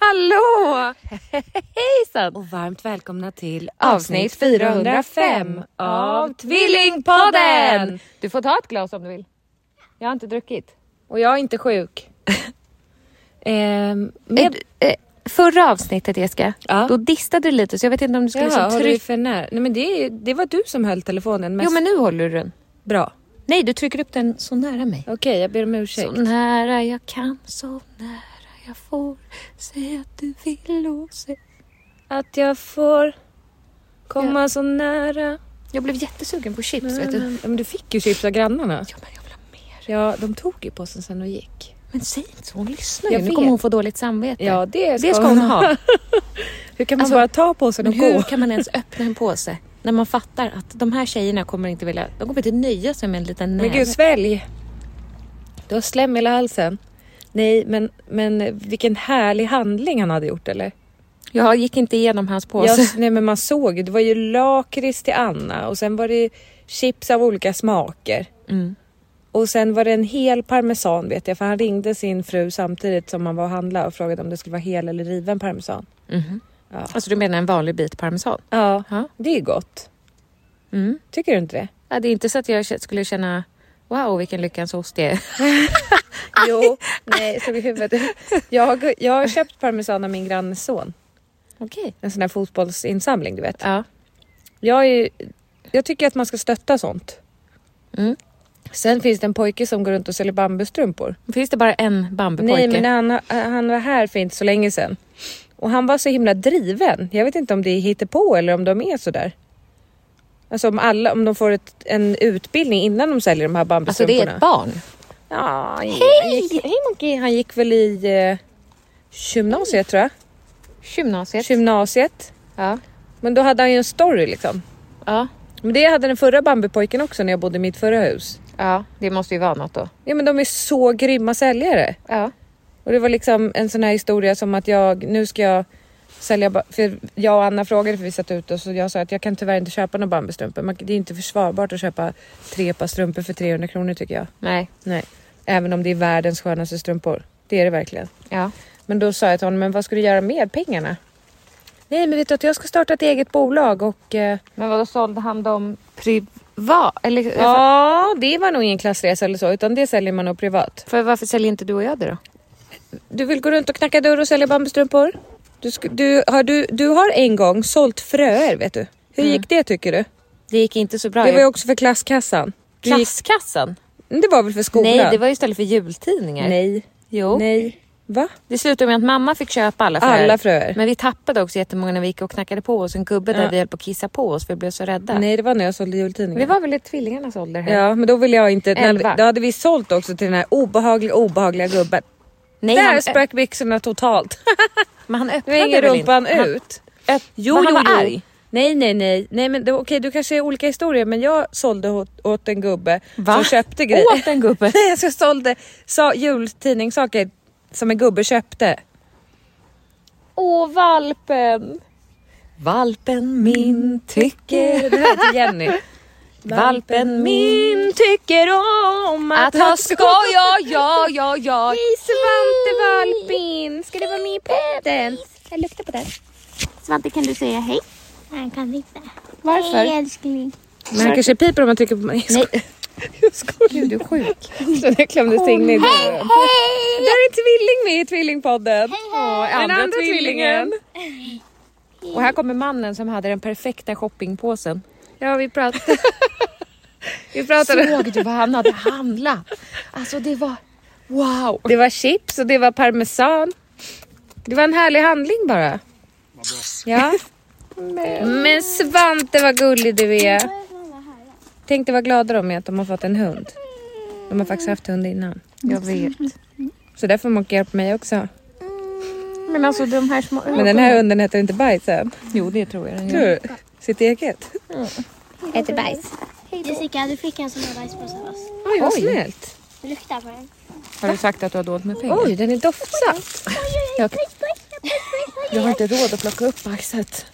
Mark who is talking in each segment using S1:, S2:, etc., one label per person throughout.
S1: Hallå!
S2: Hejsan!
S1: Och varmt välkomna till
S2: Avsnitt 405 av Tvillingpodden! Du får ta ett glas om du vill. Jag har inte druckit. Och jag är inte sjuk.
S1: Ehm,
S2: Med...
S1: med...
S2: eh, Förra avsnittet Jessica,
S1: Ja.
S2: då distade du lite så jag vet inte om du skulle
S1: Jaha,
S2: liksom
S1: har du
S2: trycka...
S1: för nära? Nej men det, det var du som höll telefonen mest
S2: Jo men nu håller du den.
S1: bra.
S2: Nej, du trycker upp den så nära mig.
S1: Okej, jag ber om ursäkt.
S2: Så nära jag kan, så nära jag får. Säg att du vill och säg...
S1: Att jag får komma så nära.
S2: Jag blev jättesugen på chips vet du.
S1: Ja, men du fick ju chips av grannarna.
S2: Ja men jag vill ha mer.
S1: Ja, de tog ju påsen sen och gick.
S2: Men säg inte så, hon lyssnar
S1: Jag
S2: ju. Nu
S1: vet.
S2: kommer hon få dåligt samvete.
S1: Ja, det ska,
S2: det ska hon ha.
S1: Hur kan man
S2: Alltså,
S1: bara ta påsen
S2: Men
S1: och gå?
S2: hur kan man ens öppna en påse när man fattar att de här tjejerna kommer inte vilja, de kommer inte nöja sig med en liten
S1: Men
S2: näve.
S1: gud, svälj! Du har slem i hela halsen. Nej, men, men vilken härlig handling han hade gjort eller?
S2: Jag gick inte igenom hans
S1: Ja,
S2: påse.
S1: nej men man såg ju, det var ju lakrits till Anna och sen var det chips av olika smaker.
S2: Mm.
S1: Och sen var det en hel parmesan vet jag, för han ringde sin fru samtidigt som han var och handlade och frågade om det skulle vara hel eller riven parmesan.
S2: Mhm.
S1: Ja.
S2: Alltså du menar en vanlig bit parmesan?
S1: Ja,
S2: Ja.
S1: det är gott.
S2: Mm.
S1: Tycker du inte det?
S2: Ja, det är inte så att jag kä- skulle känna Wow vilken lyckans ost det är.
S1: Jo, nej, slog i huvudet. Jag, jag har köpt parmesan av min grannes son.
S2: Okej.
S1: En sån här fotbollsinsamling du vet.
S2: Ja.
S1: Jag, är, jag tycker att man ska stötta sånt.
S2: Mm.
S1: Sen finns det en pojke som går runt och säljer bambustrumpor.
S2: Finns det bara en
S1: Nej
S2: bambupojke?
S1: men han, han var här för inte så länge sedan. Och han var så himla driven. Jag vet inte om det är hittepå eller om de är sådär. Alltså om, alla, om de får ett, en utbildning innan de säljer de här
S2: Alltså det är
S1: bambustrumporna.
S2: ett barn.
S1: Ja, Hej! Gick, hej Monkey! Han gick väl i eh, gymnasiet tror jag.
S2: Gymnasiet.
S1: Gymnasiet.
S2: ja.
S1: Men då hade han ju en story liksom.
S2: Ja.
S1: Men det hade den förra bambupojken också när jag bodde i mitt förra hus.
S2: ja, det måste ju vara något då.
S1: Ja men de är så grymma säljare.
S2: Ja.
S1: Och det var liksom en sån här historia som att jag, nu ska jag sälja, ba- för jag och Anna frågade för vi satt ute och så jag sa att jag kan tyvärr inte köpa några bambustrumpor. Man- Det är inte försvarbart att köpa tre par strumpor för 300 kronor tycker jag.
S2: Nej.
S1: Nej, även om det är världens skönaste strumpor. Det är det verkligen.
S2: Ja.
S1: Men då sa jag till honom, men vad ska du göra med pengarna? Nej, men vet du att jag ska starta ett eget bolag och eh,
S2: Men vadå sålde han dem privat? Eller,
S1: ja, det var nog ingen klassresa eller så, utan det säljer man nog privat.
S2: För varför säljer inte du och jag det då?
S1: Du vill gå runt och knacka dörr och sälja bambustrumpor? Du, sk- du, har, du, du har en gång sålt fröer vet du. Hur
S2: Mm.
S1: gick det tycker du?
S2: Det gick inte så bra.
S1: Det var ju också för klasskassan. Du gick,
S2: Klasskassan?
S1: det var väl för skolan?
S2: Nej, det var ju istället för jultidningar.
S1: Nej.
S2: Jo.
S1: Nej. Va?
S2: Det slutade med att mamma fick köpa alla fröer.
S1: Alla fröer.
S2: Men vi tappade också jättemånga när vi gick och knackade på oss. En gubbe där
S1: Ja.
S2: vi höll på att kissa på oss för vi blev så rädda.
S1: Nej, det var när jag sålde
S2: Vi
S1: jultidningar.
S2: var väl i tvillingarnas ålder här?
S1: Ja, men då ville jag inte...
S2: Elva.
S1: Då hade vi sålt också till den här obehagliga, obehagliga gubben.
S2: Nej,
S1: Där
S2: han, eh,
S1: sprack byxorna totalt.
S2: men han
S1: Nu
S2: öppnade
S1: hänger
S2: väl
S1: rumpan
S2: inte? Han,
S1: ut. Jo,
S2: men
S1: jo,
S2: han var
S1: jo.
S2: arg.
S1: Nej, nej, nej, nej, men det, okej, du kanske är olika historier, men jag sålde åt, åt en gubbe
S2: Va?
S1: som köpte grejer.
S2: Åt en gubbe?
S1: nej, alltså, jag sålde sa, jultidningssaker som en gubbe köpte.
S2: Åh, valpen! Valpen min tycker...
S1: Det här till Jenny.
S2: Valpen min
S1: tycker om
S2: att ha skoj, ja, ja, ja, ja.
S1: Hej Svante Valpin, ska du vara med i podden?
S3: Jag luktar på den.
S4: Svante kan du säga hej?
S3: Han kan inte.
S1: Varför?
S3: Hej älskling.
S1: Men han kanske piper om man trycker på mig. Nej. Jag skojar. Gud, du är sjuk. Så det klämde sig in i dörren. Där är tvilling med i Tvillingpodden. Åh,
S2: Den
S1: andra,
S2: andra
S1: tvillingen.
S2: tvillingen.
S1: Och här kommer mannen som hade den perfekta shoppingpåsen.
S2: Ja, vi pratade. vi pratade.
S1: Såg du vad han hade handlat? Alltså det var wow.
S2: Det var chips och det var parmesan. Det var en härlig handling bara. Ja. Men Svante vad gullig du är.
S1: Tänkte vad glada de är att de har fått en hund. De har faktiskt haft hund innan.
S2: Jag vet.
S1: Så där får Mocke hjälpa mig också.
S4: Men alltså de här små
S1: Men den här hunden heter inte Bajsen.
S2: Jo, det tror jag den
S1: Tror
S2: gör.
S1: du? Sitt eget.
S3: Äter bajs. Jessica, du fick en sån här bajspåse av oss.
S1: Oj, vad snällt.
S3: Lukta på den.
S2: Har du sagt att du har dolt med pengar?
S1: Oj, den är doftsatt.
S2: Jag-
S3: Bajs, bajs, bajs, bajs.
S2: Jag har inte råd att plocka upp bajset.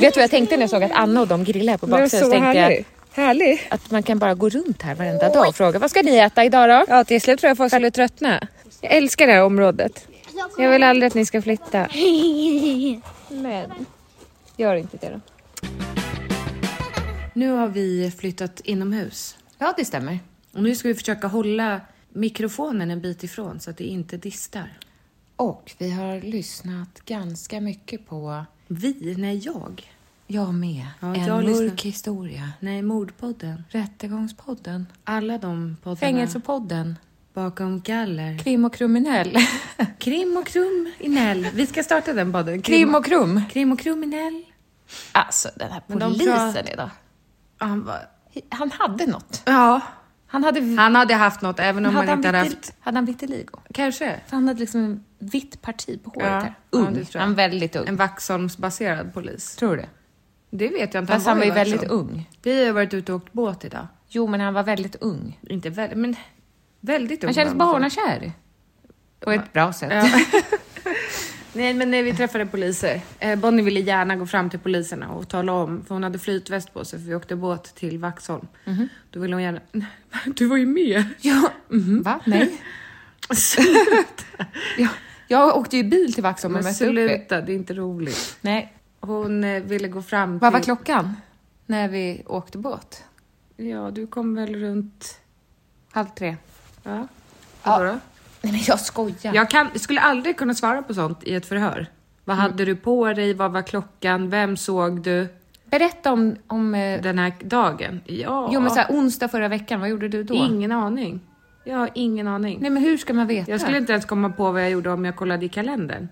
S2: Vet du vad jag tänkte när jag såg att Anna och de grillade här på
S1: Den var
S2: baksidan?
S1: så
S2: Så tänkte jag
S1: härlig. Härlig.
S2: att man kan bara gå runt här varenda dag och fråga vad ska ni äta idag då?
S1: Ja, till slut tror jag folk skulle tröttna. Jag älskar det här området. Jag vill aldrig att ni ska flytta.
S2: Men gör inte det då.
S1: Nu har vi flyttat inomhus.
S2: Ja, det stämmer.
S1: Och nu ska vi försöka hålla mikrofonen en bit ifrån så att det inte distar.
S2: Och vi har lyssnat ganska mycket på
S1: Vi? Nej, jag.
S2: Jag med.
S1: Ja,
S2: en
S1: jag har
S2: mörk
S1: lyssnat.
S2: historia.
S1: Nej, Mordpodden.
S2: Rättegångspodden.
S1: Alla de poddarna.
S2: Fängelsepodden.
S1: Bakom galler.
S2: Krim och kriminell.
S1: Krim och krum inell. Vi ska starta den podden.
S2: Krim och krum.
S1: Krim och kriminell.
S2: Alltså den här
S1: Men de
S2: polisen
S1: pratar-
S2: idag.
S1: Han var...
S2: Han hade något.
S1: Ja.
S2: Han hade...
S1: Han hade haft något även om
S2: hade,
S1: han
S2: han
S1: inte hade
S2: vitil-
S1: haft...
S2: hade han vitiligo?
S1: Kanske.
S2: För han hade liksom vitt parti på håret
S1: Ja,
S2: där.
S1: ja, det
S2: Ung.
S1: tror jag.
S2: han var väldigt ung.
S1: En Vaxholmsbaserad polis.
S2: Tror du?
S1: Det vet jag inte.
S2: Fast han var ju
S1: i Vaxholm.
S2: väldigt ung.
S1: Vi har varit ute och åkt båt idag.
S2: Jo, men han var väldigt ung.
S1: Inte väldigt, men väldigt ung.
S2: Han kändes
S1: var han.
S2: barnakär. På ett bra sätt.
S1: Nej, men nej, vi träffade poliser. Eh, Bonnie ville gärna gå fram till poliserna och tala om, för hon hade flytväst på sig för vi åkte båt till Vaxholm. Då ville hon gärna... Du var ju med!
S2: Ja. Va? Mm. Nej. jag, jag åkte ju bil till Vaxholm och
S1: Men
S2: mötte upp er.
S1: sluta, det är inte roligt.
S2: Nej.
S1: Hon eh, ville gå fram
S2: Vad var
S1: till...
S2: klockan? När vi åkte båt?
S1: Ja, du kom väl runt...
S2: Halv tre.
S1: Ja.
S2: Ja.
S1: Vadå?
S2: Nej, men jag skojar.
S1: Jag kan, skulle aldrig kunna svara på sånt i ett förhör. Vad
S5: Mm.
S1: hade du på dig? Vad var klockan? Vem såg du
S2: Berätta om... om eh,
S1: den här dagen? Ja,
S2: jo, men så här, onsdag förra veckan, vad gjorde du då?
S1: ingen aning. Jag har ingen aning.
S2: Nej, men hur ska man veta?
S1: Jag skulle inte ens komma på vad jag gjorde om jag kollade i kalendern.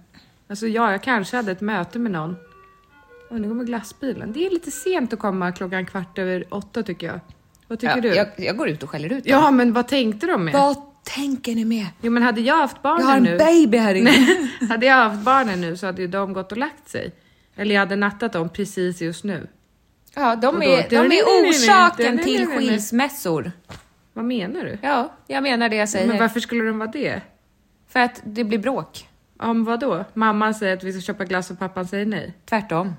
S1: Alltså ja, jag kanske hade ett möte med någon. Åh, nu kommer glassbilen. Det är lite sent att komma klockan kvart över åtta tycker jag. Vad tycker
S2: ja,
S1: du?
S2: Jag, jag går ut och skäller ut
S1: Ja, men vad tänkte de med?
S2: dem. Vad tänker ni med?
S1: Jo, men hade jag haft barnen
S2: Jag har en
S1: nu...
S2: baby här inne.
S1: Nej, hade jag haft barnen nu så hade ju de gått och lagt sig. Eller jag hade nattat dem precis just nu.
S2: Ja, de
S1: Och
S2: är,
S1: då-
S2: de är orsaken
S1: Nej, nej, nej,
S2: till
S1: nej.
S2: skilsmässor.
S1: Vad menar du?
S2: Ja, jag menar det jag säger.
S1: Men varför skulle de vara det?
S2: För att det blir bråk.
S1: Om vad då? Mamman säger att vi ska köpa glass och pappan säger nej.
S2: Tvärtom.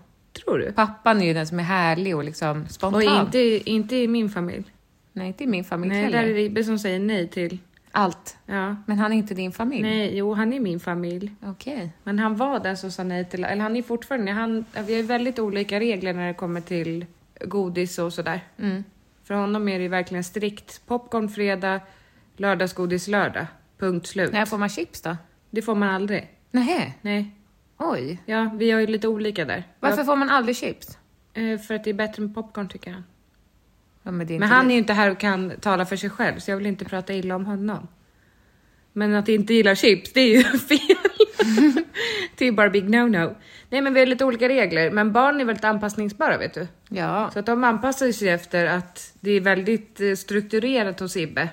S1: Tror du?
S2: Pappan är ju den som är härlig och liksom spontan.
S1: Och inte, inte i min familj.
S2: Nej, inte i min familj
S1: Nej, där
S2: heller.
S1: är Ribbe som säger nej till.
S2: Allt.
S1: Ja.
S2: Men han är inte din familj?
S1: Nej, jo, han är min familj.
S2: Okej.
S1: Men han var den som sa nej till, eller han är fortfarande, han, vi har ju väldigt olika regler när det kommer till godis och sådär.
S2: Mm.
S1: För honom är det ju verkligen strikt popcorn fredag, lördagsgodis lördag, punkt slut.
S2: När får man chips då?
S1: Det får man aldrig.
S2: Nej.
S1: Nej,
S2: Oj.
S1: ja, vi har ju lite olika där.
S2: Varför får man aldrig chips?
S1: Jag, eh, för att det är bättre med popcorn tycker han.
S2: Ja, men det är
S1: Men
S2: inte
S1: han
S2: det.
S1: är ju inte här och kan tala för sig själv så jag vill inte prata illa om honom. Men att inte gilla chips, det är ju fel. det är ju bara big no-no. Nej men vi har lite olika regler, men barn är väldigt anpassningsbara vet du.
S2: Ja.
S1: Så att de anpassar sig efter att det är väldigt eh, strukturerat hos Ibbe.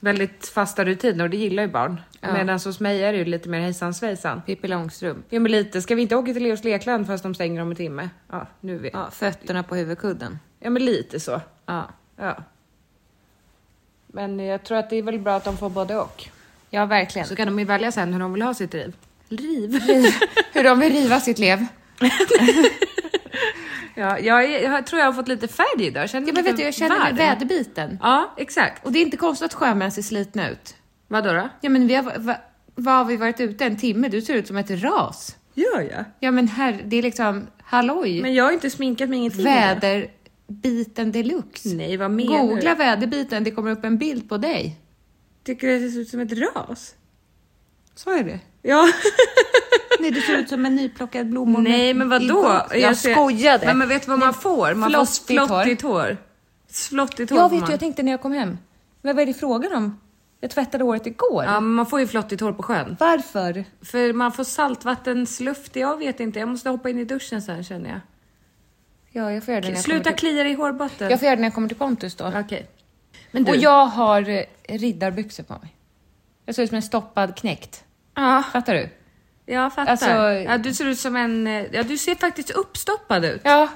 S1: Väldigt fasta rutiner och det gillar ju barn. Medan hos mig är det ju lite mer hejsan svejsan.
S2: Pippi Långstrump.
S1: Jo men lite, ska vi inte åka till Leos lekland fast de stänger om en timme? Ja, nu vet
S2: Ja, fötterna på huvudkudden.
S1: Ja, men lite så.
S2: Ja.
S1: Ja. Men jag tror att det är väl bra att de får både och.
S2: Ja, verkligen.
S1: Så kan de ju välja sen hur de vill ha sitt liv. Liv?
S2: Hur de vill riva sitt lev.
S1: ja, jag, är, jag tror jag har fått lite färg idag. Jag känner
S2: Ja, men
S1: lite
S2: vet du, jag känner mig
S1: varm.
S2: väderbiten.
S1: Ja, exakt.
S2: Och det är inte konstigt att sjömän ser slitna ut.
S1: Vadå då?
S2: Ja, men vi har, va, Vad har vi varit ute? En timme? Du ser ut som ett ras.
S5: Gör jag?
S2: Ja men herre, det är liksom halloj.
S5: Men jag har inte sminkat mig ingenting.
S2: Väderbiten deluxe.
S5: Nej, vad menar
S2: Googla
S5: du?
S2: väderbiten, det kommer upp en bild på dig.
S5: Tycker du att jag ser ut som ett ras?
S2: Sa jag det?
S5: Ja.
S2: Nej, du ser ut som en nyplockad blomma.
S5: Nej, men vad då?
S2: Mm. Jag, skojade.
S5: Nej, men vet du vad man får? Man
S2: flottigt
S5: får
S2: hår.
S5: flottigt hår. Flottigt hår
S2: jag
S5: får
S2: vet
S5: man.
S2: ju, jag tänkte när jag kom hem. Men vad är det frågan om? Jag tvättade håret igår.
S5: Ja, men man får ju flottigt hår på sjön.
S2: Varför?
S5: För man får saltvattensluft, jag vet inte. Jag måste hoppa in i duschen sen känner jag.
S2: Ja, jag får göra det när jag
S5: Sluta
S2: kommer till...
S5: klia dig i hårbotten.
S2: Jag får göra det när jag kommer till Pontus då.
S5: Okej. Men du.
S2: Och jag har eh, riddarbyxor på mig. Jag ser ut som en stoppad knäckt.
S5: Ja,
S2: Fattar du?
S5: jag fattar.
S2: Alltså-
S5: Ja, du ser ut som en... eh, Ja, du ser faktiskt uppstoppad ut.
S2: Ja.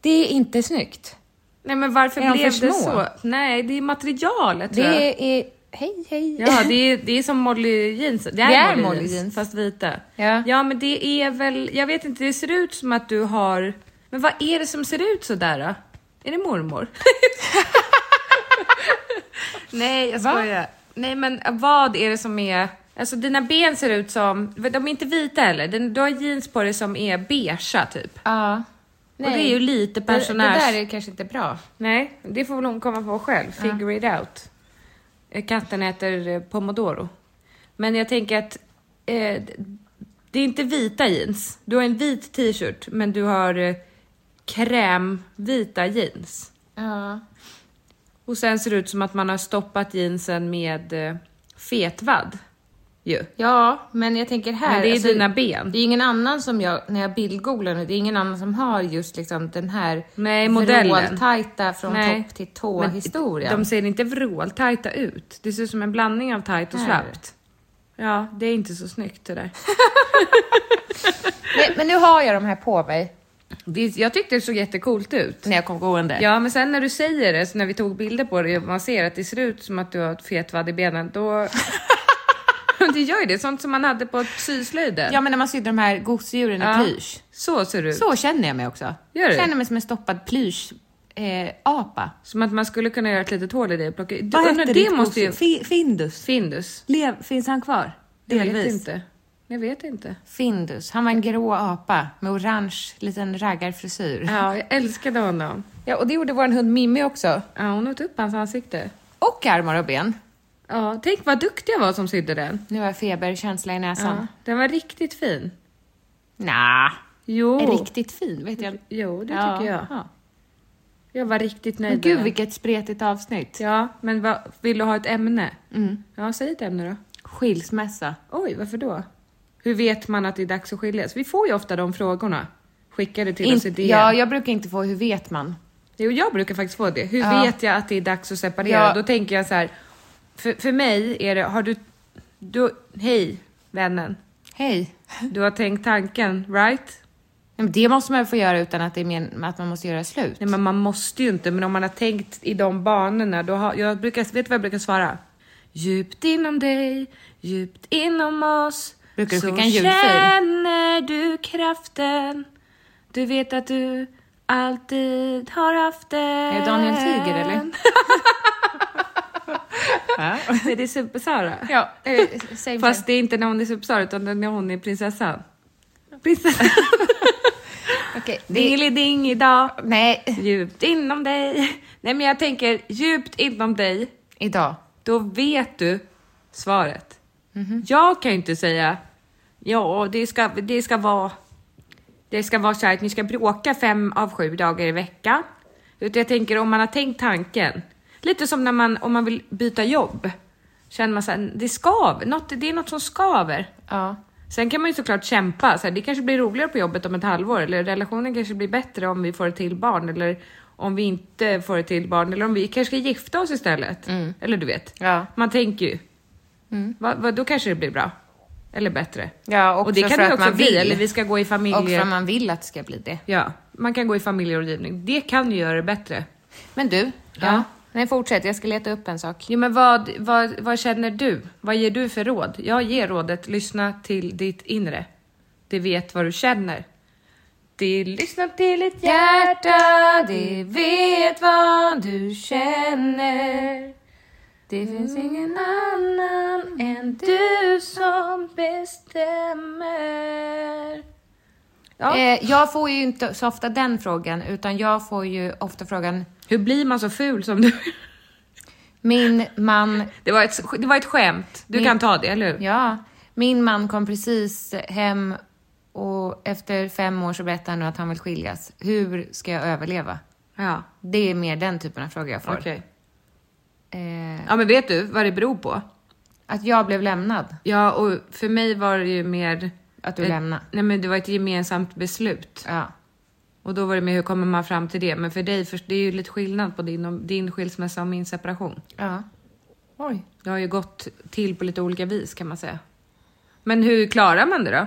S2: Det är inte snyggt.
S5: Nej, men varför
S2: Är de
S5: blev
S2: för
S5: det
S2: små?
S5: så? Nej, det är materialet tror jag.
S2: Det är... Hej, hej.
S5: Ja, det är, det är som Molly jeans. Det är, Molly, jeans, fast vita.
S2: Ja.
S5: ja, men det är väl... Jag vet inte, det ser ut som att du har... Men vad är det som ser ut sådär då? Är det mormor? Nej, jag
S2: Va?
S5: skojar. Nej, men vad är det som är... Alltså dina ben ser ut som... De är inte vita heller. Den- Du har jeans på dig som är beigea typ.
S2: Ja.
S5: Och det är ju lite pensionärs...
S2: Det, det där är kanske inte bra.
S5: Nej, det får väl hon komma på själv. Figure it out. Eh, Katten äter eh, pomodoro. Men jag tänker att eh, d- det är inte vita jeans. Du har en vit t-shirt, men du har eh, krämvita jeans.
S2: Ja.
S5: Och sen ser det ut som att man har stoppat jeansen med eh, fetvadd. Ju.
S2: Ja, men jag tänker här.
S5: Men det är
S2: alltså,
S5: dina ben.
S2: Det är ingen annan som jag, när jag bildgooglar nu, det är ingen annan som har just liksom den här
S5: Nej, modellen.
S2: vråltajta från
S5: Nej.
S2: topp till tå
S5: Men
S2: historien.
S5: De ser inte vråltajta ut. Det ser ut som en blandning av tajt och
S2: Här.
S5: slappt. Ja, det är inte så snyggt det där.
S2: Nej, men nu har jag de här på mig
S5: Det, jag tyckte det såg jättecoolt ut.
S2: när jag kom gående.
S5: Ja, men sen när du säger det, så när vi tog bilder på det och man ser att det ser ut som att du har ett fet vadd i benen, då... det gör ju det, sånt som man hade på syslöjden.
S2: Ja, men när man sydde de här gosedjuren
S5: Ja.
S2: i plysch.
S5: Så ser det ut.
S2: Så känner jag mig också.
S5: Gör du?
S2: Känner mig som en stoppad plysch eh, apa.
S5: Som att man skulle kunna göra ett litet hål i det och plocka du,
S2: Vad
S5: undrar,
S2: hette
S5: det
S2: ditt
S5: måste ju...
S2: gosedjur? Fi- Findus.
S5: Findus.
S2: Lev, finns han kvar?
S5: Jag vet inte. Jag vet inte.
S2: Findus. Han var en grå apa med orange liten raggarfrisyr.
S5: Ja, jag älskade honom.
S2: Ja, och det gjorde vår hund Mimmi också.
S5: Ja, hon åt upp hans ansikte.
S2: Och armar och ben.
S5: Ja, tänk vad duktig jag var som sydde den.
S2: Nu har jag feberkänsla i näsan.
S5: Ja, den var riktigt fin.
S2: Nja,
S5: Jo,
S2: riktigt fin vet jag.
S5: jo Oh. det
S2: Ja,
S5: tycker jag.
S2: ja.
S5: Jag var riktigt nöjd
S2: Men
S5: med
S2: gud
S5: den.
S2: vilket spretigt avsnitt.
S5: Ja, men vad, vill du ha ett ämne?
S2: Mm.
S5: Ja, säg ett ämne då.
S2: Skilsmässa.
S5: Oj, varför då? Hur vet man att det är dags att skiljas? Vi får ju ofta de frågorna skickade till oss i
S2: In,
S5: DM.
S2: ja, jag brukar inte få hur vet man.
S5: Jo, jag brukar faktiskt få det. Hur
S2: Ja.
S5: vet jag att det är dags att separera?
S2: Ja.
S5: Då tänker jag så här, för, för mig är det, har du, du, hej vännen,
S2: Hej.
S5: du har tänkt tanken, right?
S2: Nej, men Det måste man väl få göra utan att, det är men, att man måste göra slut?
S5: Nej, men man måste ju inte, men om man har tänkt i de banorna, då har, jag brukar, vet du vad jag brukar svara? Djupt inom dig, djupt inom oss,
S2: Brukar du
S5: så
S2: skicka en ljudfil?
S5: känner du kraften. Du vet att du alltid har haft den.
S2: Är det Daniel Tiger, eller?
S5: Nej, det är Supersara.
S2: Ja, eh, same
S5: Fast det är inte när hon är Supersara, utan det är när hon är prinsessan. Prinsessan.
S2: same. Okej, det,
S5: Dingeliding idag.
S2: nej,
S5: Djupt inom dig. Nej, men jag tänker djupt inom dig.
S2: idag.
S5: då vet du svaret.
S2: Mhm.
S5: Jag kan ju inte säga ja, det ska, det ska vara. Det ska vara så här att ni ska bråka fem av sju dagar i veckan. Utan jag tänker om man har tänkt tanken. Lite som när man, om man vill byta jobb. Känner man så här, det skaver, något, det är något som skaver.
S2: Ja.
S5: Sen kan man ju såklart kämpa. Så här, det kanske blir roligare på jobbet om ett halvår eller relationen kanske blir bättre om vi får ett till barn eller om vi inte får ett till barn eller om vi kanske ska gifta oss istället. Eller du vet,
S2: Mm. Ja. Mm.
S5: man tänker ju. Va, va, då kanske det blir bra. Eller bättre.
S2: Ja,
S5: och det
S2: också
S5: kan
S2: för
S5: det
S2: att
S5: också
S2: man
S5: bli.
S2: vill.
S5: Eller vi ska gå i familje...
S2: Och för att man vill att det ska bli det.
S5: Ja, man kan gå i familjerådgivning. Det kan ju göra det bättre.
S2: Men du,
S5: Ja.
S2: ja. Nej, fortsätt. Jag ska leta upp en sak.
S5: Jo, men vad, vad, vad känner du? Vad ger du för råd? Jag ger rådet, lyssna till ditt inre. Det vet vad du känner. Det lyssna till ditt hjärta, det vet vad du känner.
S6: Det finns ingen annan än du som bestämmer. Ja.
S2: Eh, jag får ju inte så ofta den frågan, utan jag får ju ofta frågan
S5: Hur blir man så ful som du?
S2: Min man,
S5: Det var ett, det var ett skämt. Du
S2: Min-
S5: kan ta det, eller hur?
S2: ja, min man kom precis hem och efter fem år så berättar han nu att han vill skiljas. Hur ska jag överleva?
S5: Ja,
S2: Det är mer den typen av frågor jag får.
S5: okej.
S2: Eh,
S5: Ja, men vet du vad det beror på?
S2: att jag blev lämnad.
S5: Ja, och för mig var det ju mer...
S2: Att du
S5: ett-
S2: lämnade.
S5: Nej, men det var ett gemensamt beslut.
S2: Ja.
S5: Och då var det med hur kommer man fram till det? Men för dig, för det är ju lite skillnad på din, och- din skilsmässa och min separation.
S2: ja. Oj.
S5: Det har ju gått till på lite olika vis kan man säga. Men hur klarar man det då?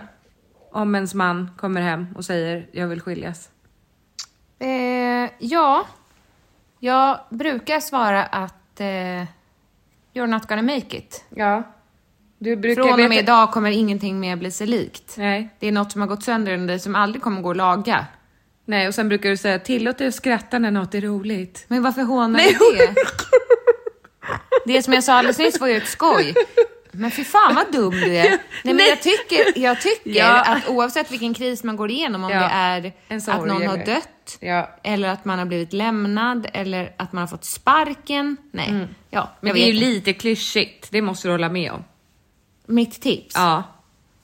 S5: Om ens man kommer hem och säger jag vill skiljas.
S2: Eh, ja, jag brukar svara att eh, you're not gonna make it.
S5: Ja. Du brukar
S2: Från och
S5: veta-
S2: med idag kommer ingenting mer bli sig likt.
S5: Nej.
S2: Det är något som har gått sönder under dig som aldrig kommer gå att laga.
S5: Nej, och sen brukar du säga tillåt dig att skratta när något är roligt.
S2: Men varför hånar du det? Det som jag sa alldeles nyss var ju ett skoj. Men fy fan vad dum du är. Nej, men jag tycker, jag tycker
S5: Ja.
S2: att oavsett vilken kris man går igenom, om
S5: Ja.
S2: det är
S5: En sorg
S2: att någon har
S5: eller-
S2: dött,
S5: Ja.
S2: eller att man har blivit lämnad, eller att man har fått sparken. Nej, ja,
S5: Mm. Men
S2: jag
S5: det är
S2: vet
S5: ju
S2: inte.
S5: lite klyschigt, det måste du hålla med om.
S2: Mitt tips?
S5: Ja.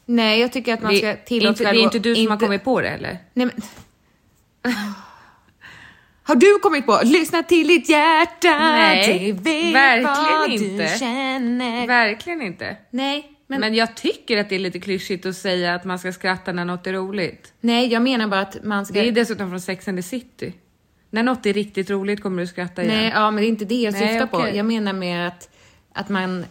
S2: Nej, jag tycker att man
S5: Det-
S2: ska
S5: det, är
S2: tillåta
S5: inte, det är inte du som har kommit på det eller?
S2: Nej, men... Har du kommit på lyssna till ditt hjärta?
S5: Nej,
S2: det vet
S5: verkligen
S2: vad
S5: inte.
S2: Du känner.
S5: Verkligen inte.
S2: nej, men,
S5: Men, jag tycker att det är lite klyschigt att säga att man ska skratta när något är roligt.
S2: nej, jag menar bara att man ska...
S5: Det är dessutom från Sex and the City. När något är riktigt roligt kommer du skratta igen.
S2: nej, ja, men det är inte det jag
S5: Nej,
S2: syftar på.
S5: okej.
S2: Jag menar mer att, att man...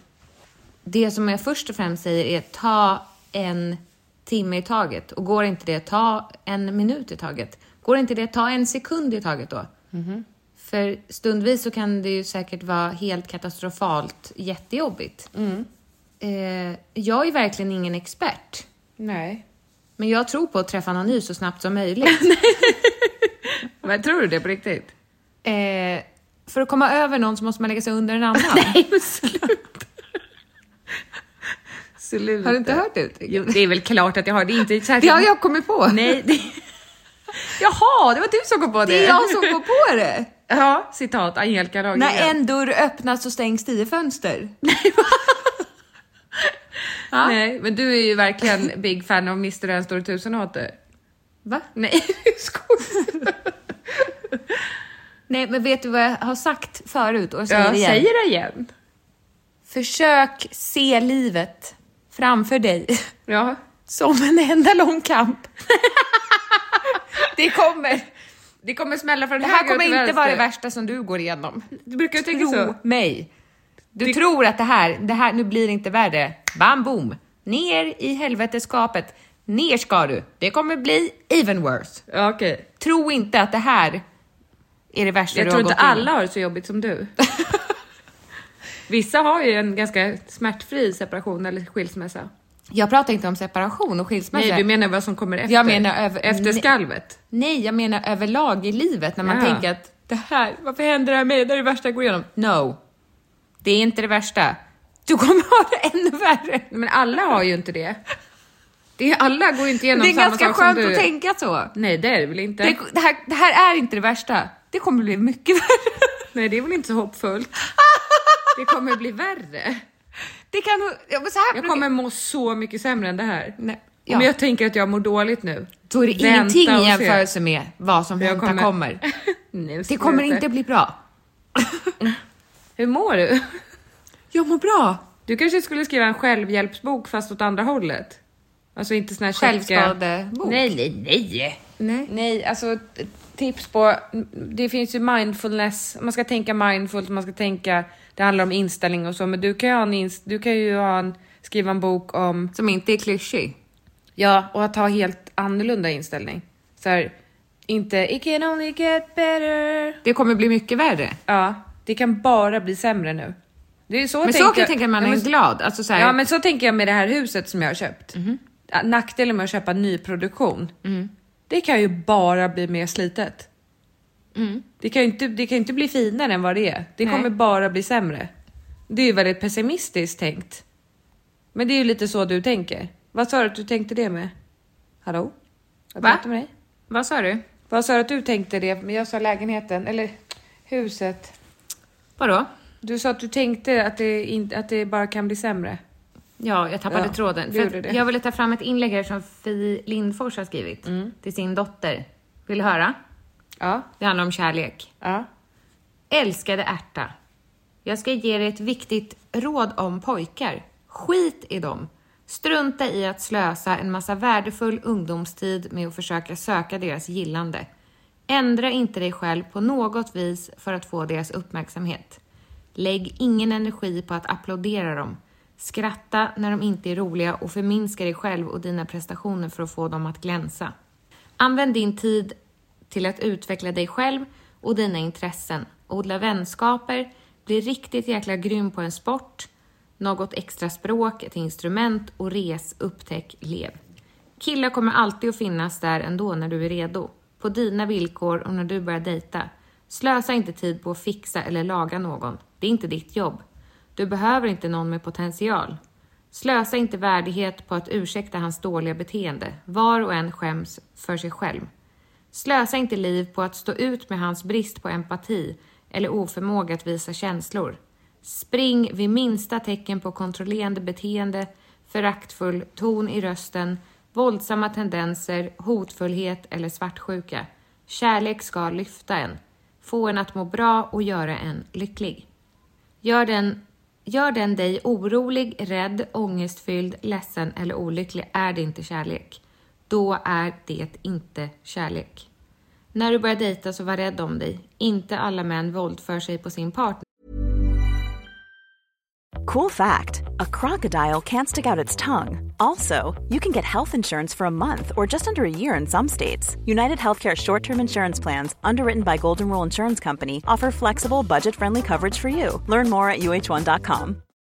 S2: Det som jag först och främst säger är ta en timme i taget. Och går inte det, ta en minut i taget. Går inte det, ta en sekund i taget då.
S5: Mhm.
S2: För stundvis så kan det ju säkert vara helt katastrofalt jättejobbigt.
S5: Mm.
S2: Eh, jag är verkligen ingen expert.
S5: Nej.
S2: Men jag tror på att träffa någon ny så snabbt som möjligt.
S5: Men tror du det på riktigt?
S2: eh, för att komma över någon så måste man lägga sig under en annan.
S5: Nej men sluta. sluta.
S2: Har du inte hört det uttrycket?
S5: Jo, det är väl klart att jag har. Det är inte särskilt...
S2: Det har jag kommit på.
S5: Nej. Det... Jaha, det var du som kom på det.
S2: Det är jag som går på det.
S5: Ja, citat Angelica Lagergren.
S2: När en dörr öppnas så stängs tio fönster.
S5: Ja. Nej, men du är ju verkligen big fan av Mr. En står i tusen hater.
S2: Va?
S5: Nej, du skojar.
S2: Nej, men vet du vad jag har sagt förut och säger
S5: Jag
S2: igen?
S5: säger det igen.
S2: Försök se livet framför dig
S5: Ja.
S2: som en enda lång kamp.
S5: Det kommer. Det kommer smälla från
S2: Det här kommer inte vara det värsta som du går igenom.
S5: Du brukar ju tänka
S2: Tro
S5: så.
S2: mig. Du tror att det här, det här, nu blir det inte värre. Bam boom! Ner i helveteskapet. Ner ska du. Det kommer bli even worse.
S5: Ja, okej.
S2: Tro inte att det här är det värsta
S5: Jag
S2: du
S5: tror
S2: har
S5: inte
S2: gått igenom.
S5: alla har det så jobbigt som du. Vissa har ju en ganska smärtfri separation eller skilsmässa.
S2: Jag pratar inte om separation och skilsmässa.
S5: Nej, du menar vad som kommer efter?
S2: Jag menar över-
S5: efter
S2: Nej.
S5: skalvet?
S2: Nej, jag menar överlag i livet när man
S5: Ja.
S2: tänker att det här, varför händer det här med mig? Det är det värsta jag går igenom. No. Det är inte det värsta. Du kommer ha det ännu värre.
S5: Nej, Men alla har ju inte det. det är, alla går ju inte igenom
S2: Det är
S5: samma
S2: ganska
S5: sak som
S2: skönt
S5: du.
S2: att tänka så.
S5: Nej, det är det väl inte?
S2: Det, det, här, det här är inte det värsta. Det kommer bli mycket värre.
S5: Nej, det är väl inte så hoppfullt? Det kommer bli värre.
S2: Det kan... ja, men Så här
S5: Jag
S2: brukar-
S5: kommer må så mycket sämre än det här.
S2: Nej,
S5: Om
S2: ja.
S5: jag tänker att jag mår dåligt nu.
S2: Då är det
S5: vänta
S2: ingenting
S5: och
S2: i
S5: se.
S2: jämförelse med vad som
S5: Jag
S2: hänt kommer. kommer.
S5: Nej,
S2: Det kommer
S5: sluta.
S2: inte bli bra.
S5: Hur mår du?
S2: Jag mår bra.
S5: Du kanske skulle skriva en självhjälpsbok fast åt andra hållet? Alltså inte sån här käcka-
S2: Självskadebok.
S5: Nej, nej, nej.
S2: Nej.
S5: Nej, alltså t- tips på... Det finns ju mindfulness, man ska tänka mindfullt, man ska tänka... Det handlar om inställning och så, men du kan ju, ha en inst- du kan ju ha en, skriva en bok om...
S2: Som inte är klyschig.
S5: Ja, och att ha helt annorlunda inställning. Så här, inte it can only get better.
S2: Det kommer bli mycket värre.
S5: Ja, det kan bara bli sämre nu. Det är så
S2: Men så kan jag tänka när man
S5: Ja,
S2: är
S5: men-
S2: glad. Alltså så här, Mhm.
S5: Ja men så tänker jag med det här huset som jag har köpt. Ja, Nackdelen med att köpa nyproduktion,
S2: Mm.
S5: det kan ju bara bli mer slitet.
S2: Mm.
S5: Det kan ju inte, det kan ju inte bli finare än vad det är. Det kommer bara bli sämre. Det är ju väldigt pessimistiskt tänkt. Men det är ju lite så du tänker. Vad sa du att du tänkte det med? Hallå? Jag
S2: Va?
S5: pratar med dig.
S2: Vad sa du?
S5: Vad sa du att du tänkte det? Men jag sa lägenheten, eller huset.
S2: Vadå?
S5: Du sa att du tänkte att det, inte, att det bara kan bli sämre.
S2: Ja, jag tappade
S5: Ja,
S2: tråden.
S5: du
S2: För
S5: gjorde
S2: att
S5: det.
S2: Jag ville ta fram ett inlägg här som Fi Lindfors har skrivit till sin dotter. Vill du höra?
S5: Ja,
S2: Det handlar om kärlek.
S5: ja.
S2: Älskade ärta. Jag ska ge dig ett viktigt råd om pojkar. Skit i dem. Strunta i att slösa en massa värdefull ungdomstid med att försöka söka deras gillande. Ändra inte dig själv på något vis för att få deras uppmärksamhet. Lägg ingen energi på att applådera dem. Skratta när de inte är roliga och förminska dig själv och dina prestationer för att få dem att glänsa. Använd din tid till att utveckla dig själv och dina intressen. Odla vänskaper, bli riktigt jäkla grym på en sport, något extra språk, ett instrument och res, upptäck, lev. Killar kommer alltid att finnas där ändå när du är redo. På dina villkor och när du börjar dejta. Slösa inte tid på att fixa eller laga någon. Det är inte ditt jobb. Du behöver inte någon med potential. Slösa inte värdighet på att ursäkta hans dåliga beteende. Var och en skäms för sig själv. Slösa inte liv på att stå ut med hans brist på empati eller oförmåga att visa känslor. Spring vid minsta tecken på kontrollerande beteende, föraktfull ton i rösten, våldsamma tendenser, hotfullhet eller svartsjuka. Kärlek ska lyfta en, få en att må bra och göra en lycklig. Gör den, gör den dig orolig, rädd, ångestfylld, ledsen eller olycklig är det inte kärlek. Då är det inte kärlek. När du börjar dejta så var rädd om dig. Inte alla män våldför sig på sin partner
S7: Cool fact a crocodile can't stick out its tongue. Also, you can get health insurance for a month or just under a year in some states. United Healthcare short term insurance plans, underwritten by Golden Rule Insurance Company, offer flexible, budget friendly coverage for you. Learn more at uh1.com.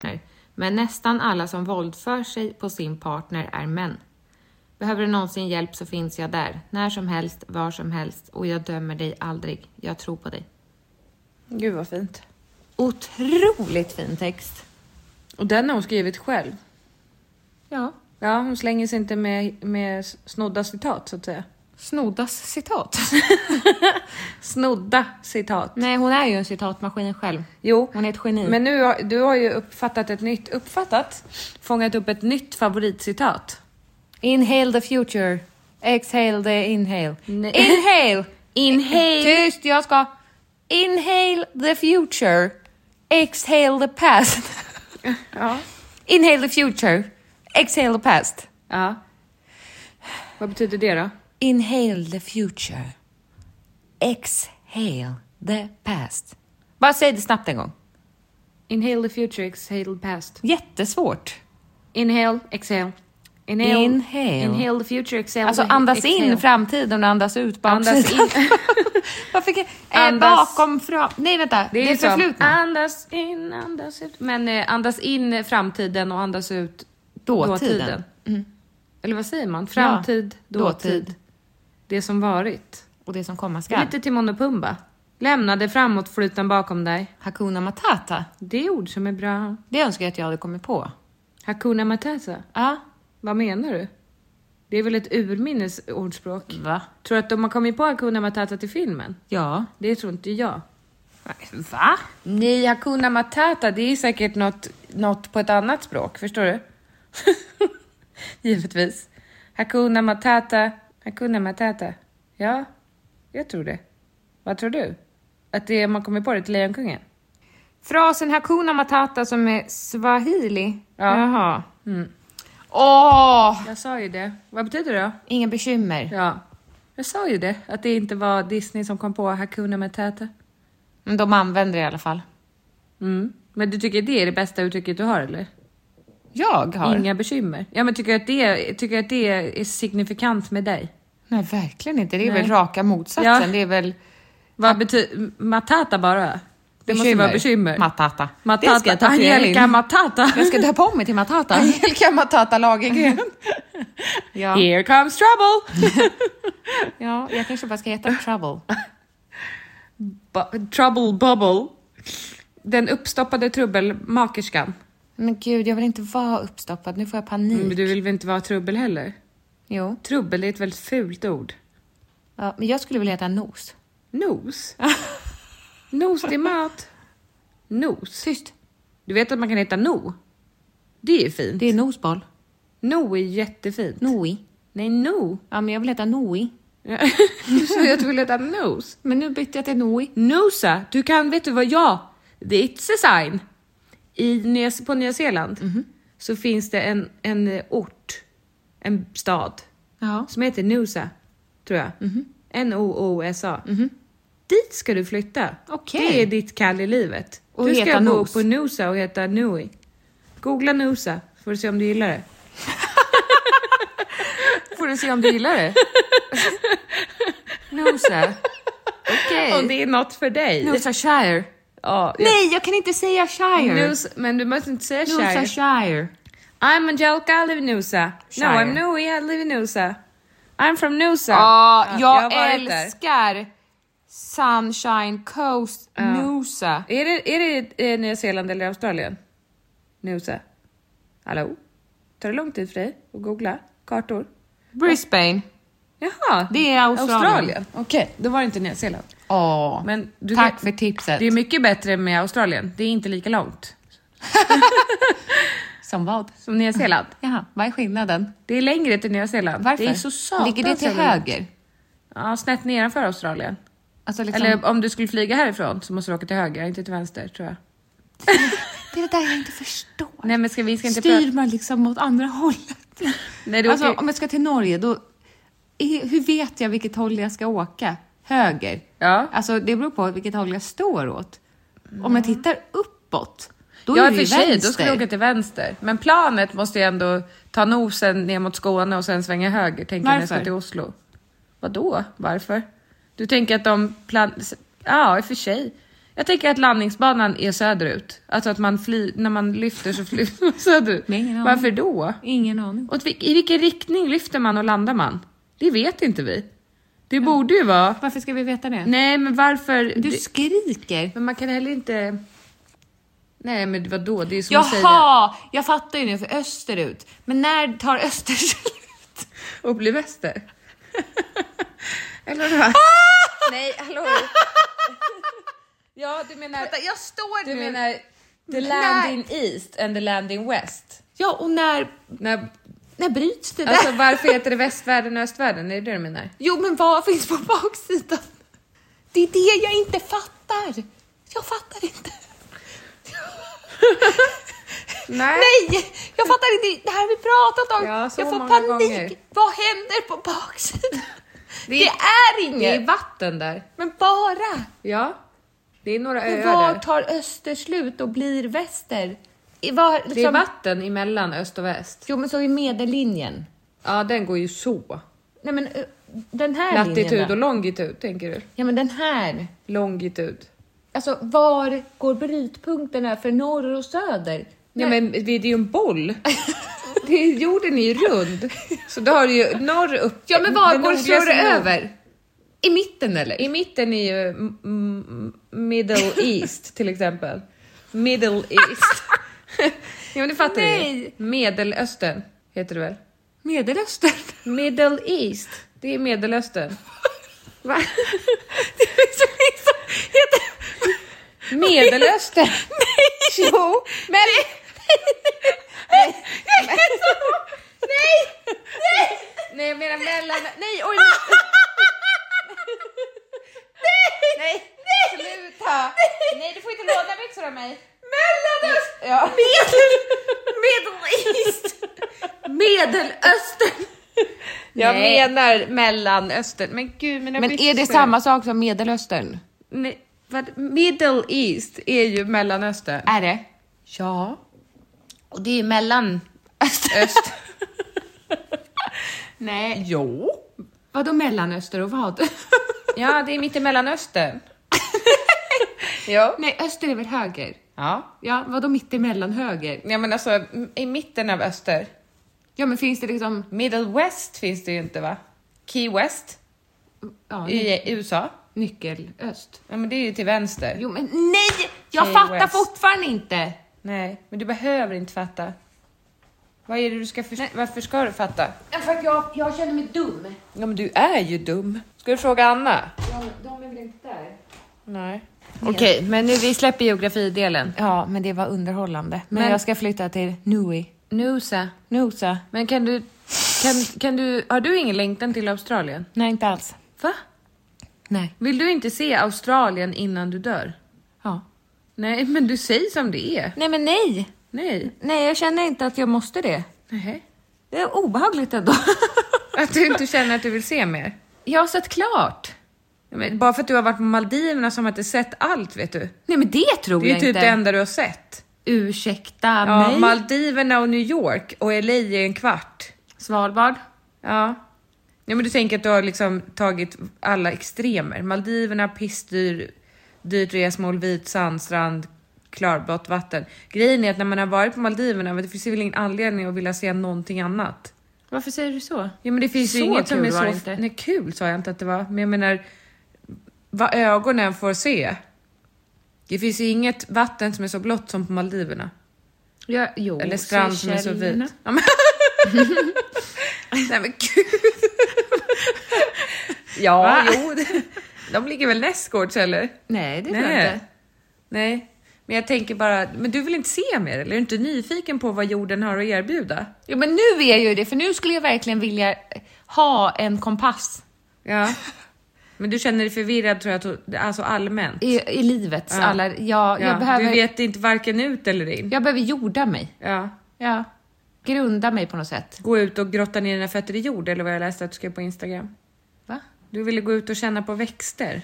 S2: partner, men nästan alla som våldför sig på sin partner är män. Behöver du någonsin hjälp så finns jag där, när som helst, var som helst och jag dömer dig aldrig. Jag tror på dig.
S5: Gud vad fint.
S2: Otroligt fin text.
S5: Och den har hon skrivit själv.
S2: Ja.
S5: Ja, hon slänger sig inte med, med snodda citat så att säga.
S2: Snoddas citat.
S5: Snodda citat.
S2: Nej, hon är ju en citatmaskin själv.
S5: Jo,
S2: Hon är ett geni.
S5: men nu har, du har ju uppfattat ett nytt, uppfattat, fångat upp ett nytt favoritcitat.
S2: Inhale the future. Exhale the inhale.
S5: Nej.
S2: Inhale!
S5: Inhale.
S2: Tyst, jag ska... Inhale the future. Exhale the past.
S5: Ja.
S2: Inhale the future. Exhale the past.
S5: Ja. Vad betyder det då?
S2: Inhale the future. Exhale the past. Bara säg det snabbt en gång.
S5: Inhale the future, exhale the past.
S2: Jättesvårt.
S5: Inhale, exhale. Inhale,
S2: Inhale.
S5: inhale the future, exhale
S2: Alltså
S5: the
S2: andas
S5: exhale.
S2: in framtiden och andas ut baksidan.
S5: Andas in.
S2: Varför kan, eh,
S5: Andas-
S2: bakom fram... Nej vänta, det är, liksom- Ah,
S5: ju så.
S2: förflutna.
S5: Andas in, andas ut. Men eh, andas in framtiden och andas ut
S2: Dåtiden.
S5: Eller vad säger man? Framtid,
S2: Ja,
S5: dåtid.
S2: dåtid.
S5: Det som varit.
S2: Och det som komma
S5: Det är
S2: skall.
S5: Lite Timon och Pumba. Lämna det framåt, flytan bakom dig.
S2: Hakuna Matata.
S5: Det är ord som är bra.
S2: Det önskar jag att jag hade kommit på. Ah.
S5: Hakuna Matata.
S2: Ja.
S5: Vad menar du? Det är väl ett urminnes ordspråk?
S2: Va?
S5: Tror du att de har kommit på Hakuna Matata till filmen?
S2: Ja.
S5: Det tror inte jag.
S2: Va?
S1: Nej, Hakuna Matata, det är säkert något, något på ett annat språk, förstår du? Givetvis. Hakuna Matata, Hakuna Matata. Ja, jag tror det. Vad tror du? Att det man kommer på det till Lejonkungen?
S2: Frasen Hakuna Matata som är swahili?
S1: Ja.
S2: Jaha.
S1: Mm.
S2: Åh!
S1: Jag sa ju det. Vad betyder det då?
S2: Inga bekymmer.
S1: Ja, jag sa ju det. Att det inte var Disney som kom på Hakuna Matata.
S2: Men de använder det i alla fall.
S1: Mm. Men du tycker det är det bästa uttrycket du har eller?
S2: Jag har?
S1: Inga bekymmer. Ja, men tycker du att det, tycker du att det är signifikant med dig?
S2: Nej, verkligen inte. Det är
S1: Nej.
S2: väl raka motsatsen.
S1: Ja.
S2: Det är väl
S1: Vad betyder matata bara? Det måste vara bekymmer.
S2: Matata.
S1: matata.
S2: Det ska jag tatuera
S1: Angelica
S2: in.
S1: matata.
S2: Jag ska döpa om mig till Matata. Angelica Matata Lagergren. ja.
S1: Here comes trouble!
S2: ja, jag kanske bara ska heta Trouble.
S1: Bu- trouble bubble. Den uppstoppade trubbelmakerskan. Mm,
S2: Men gud, jag vill inte vara uppstoppad. Nu får jag panik.
S1: Men du vill väl inte vara trubbel heller?
S2: Jo.
S1: Trubbel är ett väldigt fult ord.
S2: Ja, men jag skulle vilja heta Nos.
S1: Nos. Nos till mat. Nos.
S2: Tyst.
S1: Du vet att man kan heta No? Det är fint.
S2: Det är Nosboll.
S1: No är jättefint.
S2: Noi.
S1: Nej, No.
S2: Ja, men jag vill heta Noi.
S1: du sa ju att du ville heta Nos.
S2: Men nu bytte jag till Noi.
S1: Mm. Nosa, du kan, vet du vad jag, it's a sign. I Nya, på Nya Zeeland så finns det en, en ort, en stad,
S2: Ja.
S1: som heter Noosa, tror jag. N-O-O-S-A. Dit ska du flytta.
S2: Okej.
S1: Det är ditt kall i livet.
S2: Och
S1: du ska
S2: heta
S1: bo
S2: Nos.
S1: på Noosa och heta Nui. Googla Noosa, får du se om du gillar det.
S2: Får du se om du gillar det. Nosa. Okej.
S1: Om det är något för dig.
S2: Nosa Shire.
S1: Ja, jag-
S2: Nej, jag kan inte säga Shire.
S1: Noosa- men du måste inte säga
S2: Nosa
S1: Shire.
S2: Shire.
S1: I'm Angelica, I live in Noosa. No,
S2: Shire.
S1: I'm Nui, I live in Noosa. I'm from Noosa.
S2: Ja, jag,
S1: har varit där.
S2: älskar Sunshine Coast Noosa.
S1: Är det, är det eh, Nya Zeeland eller Australien? Noosa? Hallå? Tar det lång tid för dig att googla kartor?
S2: Brisbane.
S1: Jaha,
S2: Det är Australien.
S1: Okej, då var det inte Nya Zeeland.
S2: Åh,
S1: Men du
S2: tack
S1: vet-
S2: för tipset.
S1: Det är mycket bättre med Australien. Det är inte lika långt
S2: Som vad?
S1: som Nya Zeeland.
S2: Jaha, vad är skillnaden?
S1: Det är längre till Nya Zeeland.
S2: Varför?
S1: Det är så satans
S2: Ligger det till
S1: jävla långt.
S2: höger?
S1: Ja, snett nedanför Australien.
S2: Alltså liksom,
S1: Eller om du skulle flyga härifrån så måste du åka till höger, inte till vänster tror jag.
S2: det är det där jag inte förstår.
S1: Nej men ska vi ska inte
S2: Styr
S1: prata-
S2: man liksom åt andra hållet?
S1: Nej, du
S2: alltså
S1: åker-
S2: om jag ska till Norge, då... i- Hur vet jag vilket håll jag ska åka? Höger?
S1: Ja. Mm.
S2: Alltså det beror på vilket håll jag står åt. Om jag tittar uppåt, då
S1: ja, i
S2: är det
S1: och
S2: ju
S1: för sig, då ska
S2: vänster.
S1: jag åka till vänster. Men planet måste ju ändå ta nosen ner mot Skåne och sen svänga höger, tänker jag när jag ska
S2: Varför?
S1: till Oslo. Vadå? Varför? Du tänker att de plan... Ja, i och för sig. Jag tänker att landningsbanan är söderut. Alltså att man fly... när man lyfter så flyger man söderut.
S2: Nej, ingen aning.
S1: Varför då?
S2: Ingen aning.
S1: Och att vi- i vilken riktning lyfter man och landar man? Det vet inte vi. Det borde ju vara...
S2: Varför ska vi veta det?
S1: Nej, men varför...
S2: Du
S1: Det-
S2: skriker.
S1: Men man kan heller inte... Nej men vadå, det är som att säga
S2: Jaha! Jag fattar ju nu, för österut. Men när tar öster slut?
S1: och bli väster. Eller vad? Nej, hallå? Ja, du menar...
S2: Vänta, jag står
S1: Du
S2: nu.
S1: menar the
S2: Nej.
S1: land in east and the land in west?
S2: Ja, och när,
S1: När,
S2: när bryts det där?
S1: alltså varför heter det västvärlden och östvärlden? Är det det du menar?
S2: Jo, men vad finns på baksidan? Det är det jag inte fattar. Jag fattar inte.
S1: Nej.
S2: Nej, jag fattar inte. Det här har vi pratat om.
S1: Ja, så
S2: jag får
S1: många
S2: panik.
S1: gånger.
S2: Vad händer på baksidan? Det,
S1: är-
S2: är inget.
S1: Det är vatten där.
S2: Men bara.
S1: Ja. Det är några
S2: Men
S1: öar
S2: var
S1: där.
S2: tar öster slut och blir väster? I var,
S1: Det är
S2: liksom,
S1: vatten emellan öst och väst.
S2: jo, men så i medellinjen.
S1: Ja, den går ju så.
S2: Nej, men ö, den här linjen
S1: Latitud
S2: då?
S1: och longitud, tänker du?
S2: Ja, men den här.
S1: Longitud.
S2: Alltså, var går brytpunkterna för norr och söder?
S1: Ja, men det är ju en boll. Det är, jorden är ju rund. Så då har du ju norr upp.
S2: Ja, men var
S1: den
S2: går
S1: nordligaste
S2: snurren
S1: norr.
S2: över? I mitten eller?
S1: I mitten är ju mm, mm, middle east till exempel. Middle east. ja men det fattar
S2: Nej.
S1: du ju. Medelöstern heter det väl?
S2: Medelöstern.
S1: Middle east. Det är medelöstern. Va?
S2: Det finns ju liksom- heter-
S5: Medelöstern.
S2: Nej!
S5: Jo, men...
S2: Nej! Jag kan inte- Nej! Nej! Ah. Nej, jag menar mellan... Nej, oj! men- Nej!
S1: Nej!
S2: Sluta! Nej, du får inte låna byxor av mig.
S1: Mellanöstern!
S2: Ja.
S1: Medel... Middle East!
S2: Medelöstern!
S1: Jag
S2: Nej.
S1: menar Mellanöstern. Men gud, mina
S2: Men är det
S1: byxor.
S2: samma sak som Medelöstern?
S1: Nej, vad? Middle East är ju Mellanöstern.
S2: Är det?
S1: Ja.
S2: Och det är mellan...
S1: Öst. Nej. Jo.
S2: Vadå Mellanöster och vad?
S1: Ja, det är mitt i Mellanöstern. ja.
S2: Nej, öster är väl höger?
S1: Ja.
S2: Ja, vadå mitt emellan höger?
S1: Ja, men alltså i mitten av öster.
S2: Ja, men finns det liksom...
S1: Middle West finns det ju inte, va? Key West
S2: Ja,
S1: i eh, USA.
S2: nyckelöst.
S1: Ja, men det är ju till vänster.
S2: Jo, men nej! Jag
S1: Key
S2: fattar
S1: West.
S2: fortfarande inte!
S1: Nej, men du behöver inte fatta. Vad är det du ska förstå? Varför ska du fatta?
S2: För att jag, jag känner mig dum.
S1: Ja, men du är ju dum. Ska du fråga Anna?
S2: De, de är väl inte där?
S1: Nej. Okej, men nu vi släpper geografidelen.
S2: Ja, men det var underhållande. Men,
S1: Men-
S2: jag ska flytta till Nui.
S1: Nusa.
S2: Noosa.
S1: Men kan du, kan, kan du, har du ingen längtan till Australien?
S2: Nej, inte alls.
S1: Va?
S2: Nej.
S1: Vill du inte se Australien innan du dör?
S2: Ja.
S1: Nej, men du säger som det är.
S2: Nej, men nej!
S1: Nej.
S2: Nej, jag känner inte att jag måste det.
S1: Nej.
S2: Det är obehagligt ändå.
S1: Att du inte känner att du vill se mer?
S2: Jag har sett klart.
S1: Men bara för att du har varit på Maldiverna som att du sett allt, vet du.
S2: Nej, men det tror
S1: Det är
S2: jag
S1: ju typ
S2: inte.
S1: det enda du har sett.
S2: Ursäkta
S1: Ja,
S2: mig.
S1: Maldiverna och New York och LA är en kvart.
S2: Svalbard.
S1: Ja. ja men du tänker att du har liksom tagit alla extremer. Maldiverna, pissdyr, dyrt resmål, vit sandstrand, klarblått vatten. Grejen är att när man har varit på Maldiverna, men det finns väl ingen anledning att vilja se någonting annat.
S2: Varför säger du så?
S1: Ja men det finns ju
S2: Så
S1: inget som
S2: kul
S1: är
S2: var det
S1: så...
S2: inte.
S1: Nej, kul sa jag inte att det var, men jag menar vad ögonen får se. Det finns ju inget vatten som är så blått som på Maldiverna.
S2: Ja, jo,
S1: Eller strand som är så
S2: Seychellerna.
S1: vit. Ja, men... Nej men gud. ja,
S2: Va?
S1: jo. det- De ligger väl nästgårds eller?
S2: Nej, det tror jag
S1: Nej.
S2: inte.
S1: Nej, men jag tänker bara, men du vill inte se mer eller? Är du inte nyfiken på vad jorden har att erbjuda?
S2: Jo, men nu är jag ju det, för nu skulle jag verkligen vilja ha en kompass
S1: Ja. Men du känner dig förvirrad tror jag, to- alltså allmänt.
S2: i, i livets
S1: Ja.
S2: alla... Jag,
S1: Ja,
S2: jag, behöver,
S1: Du vet inte varken ut eller in.
S2: jag behöver jorda mig.
S1: Ja.
S2: Ja. Grunda mig på något sätt.
S1: Gå ut och grotta ner dina fötter i jord eller vad jag läste att du skrev på Instagram.
S2: Va?
S1: Du ville gå ut och känna på växter.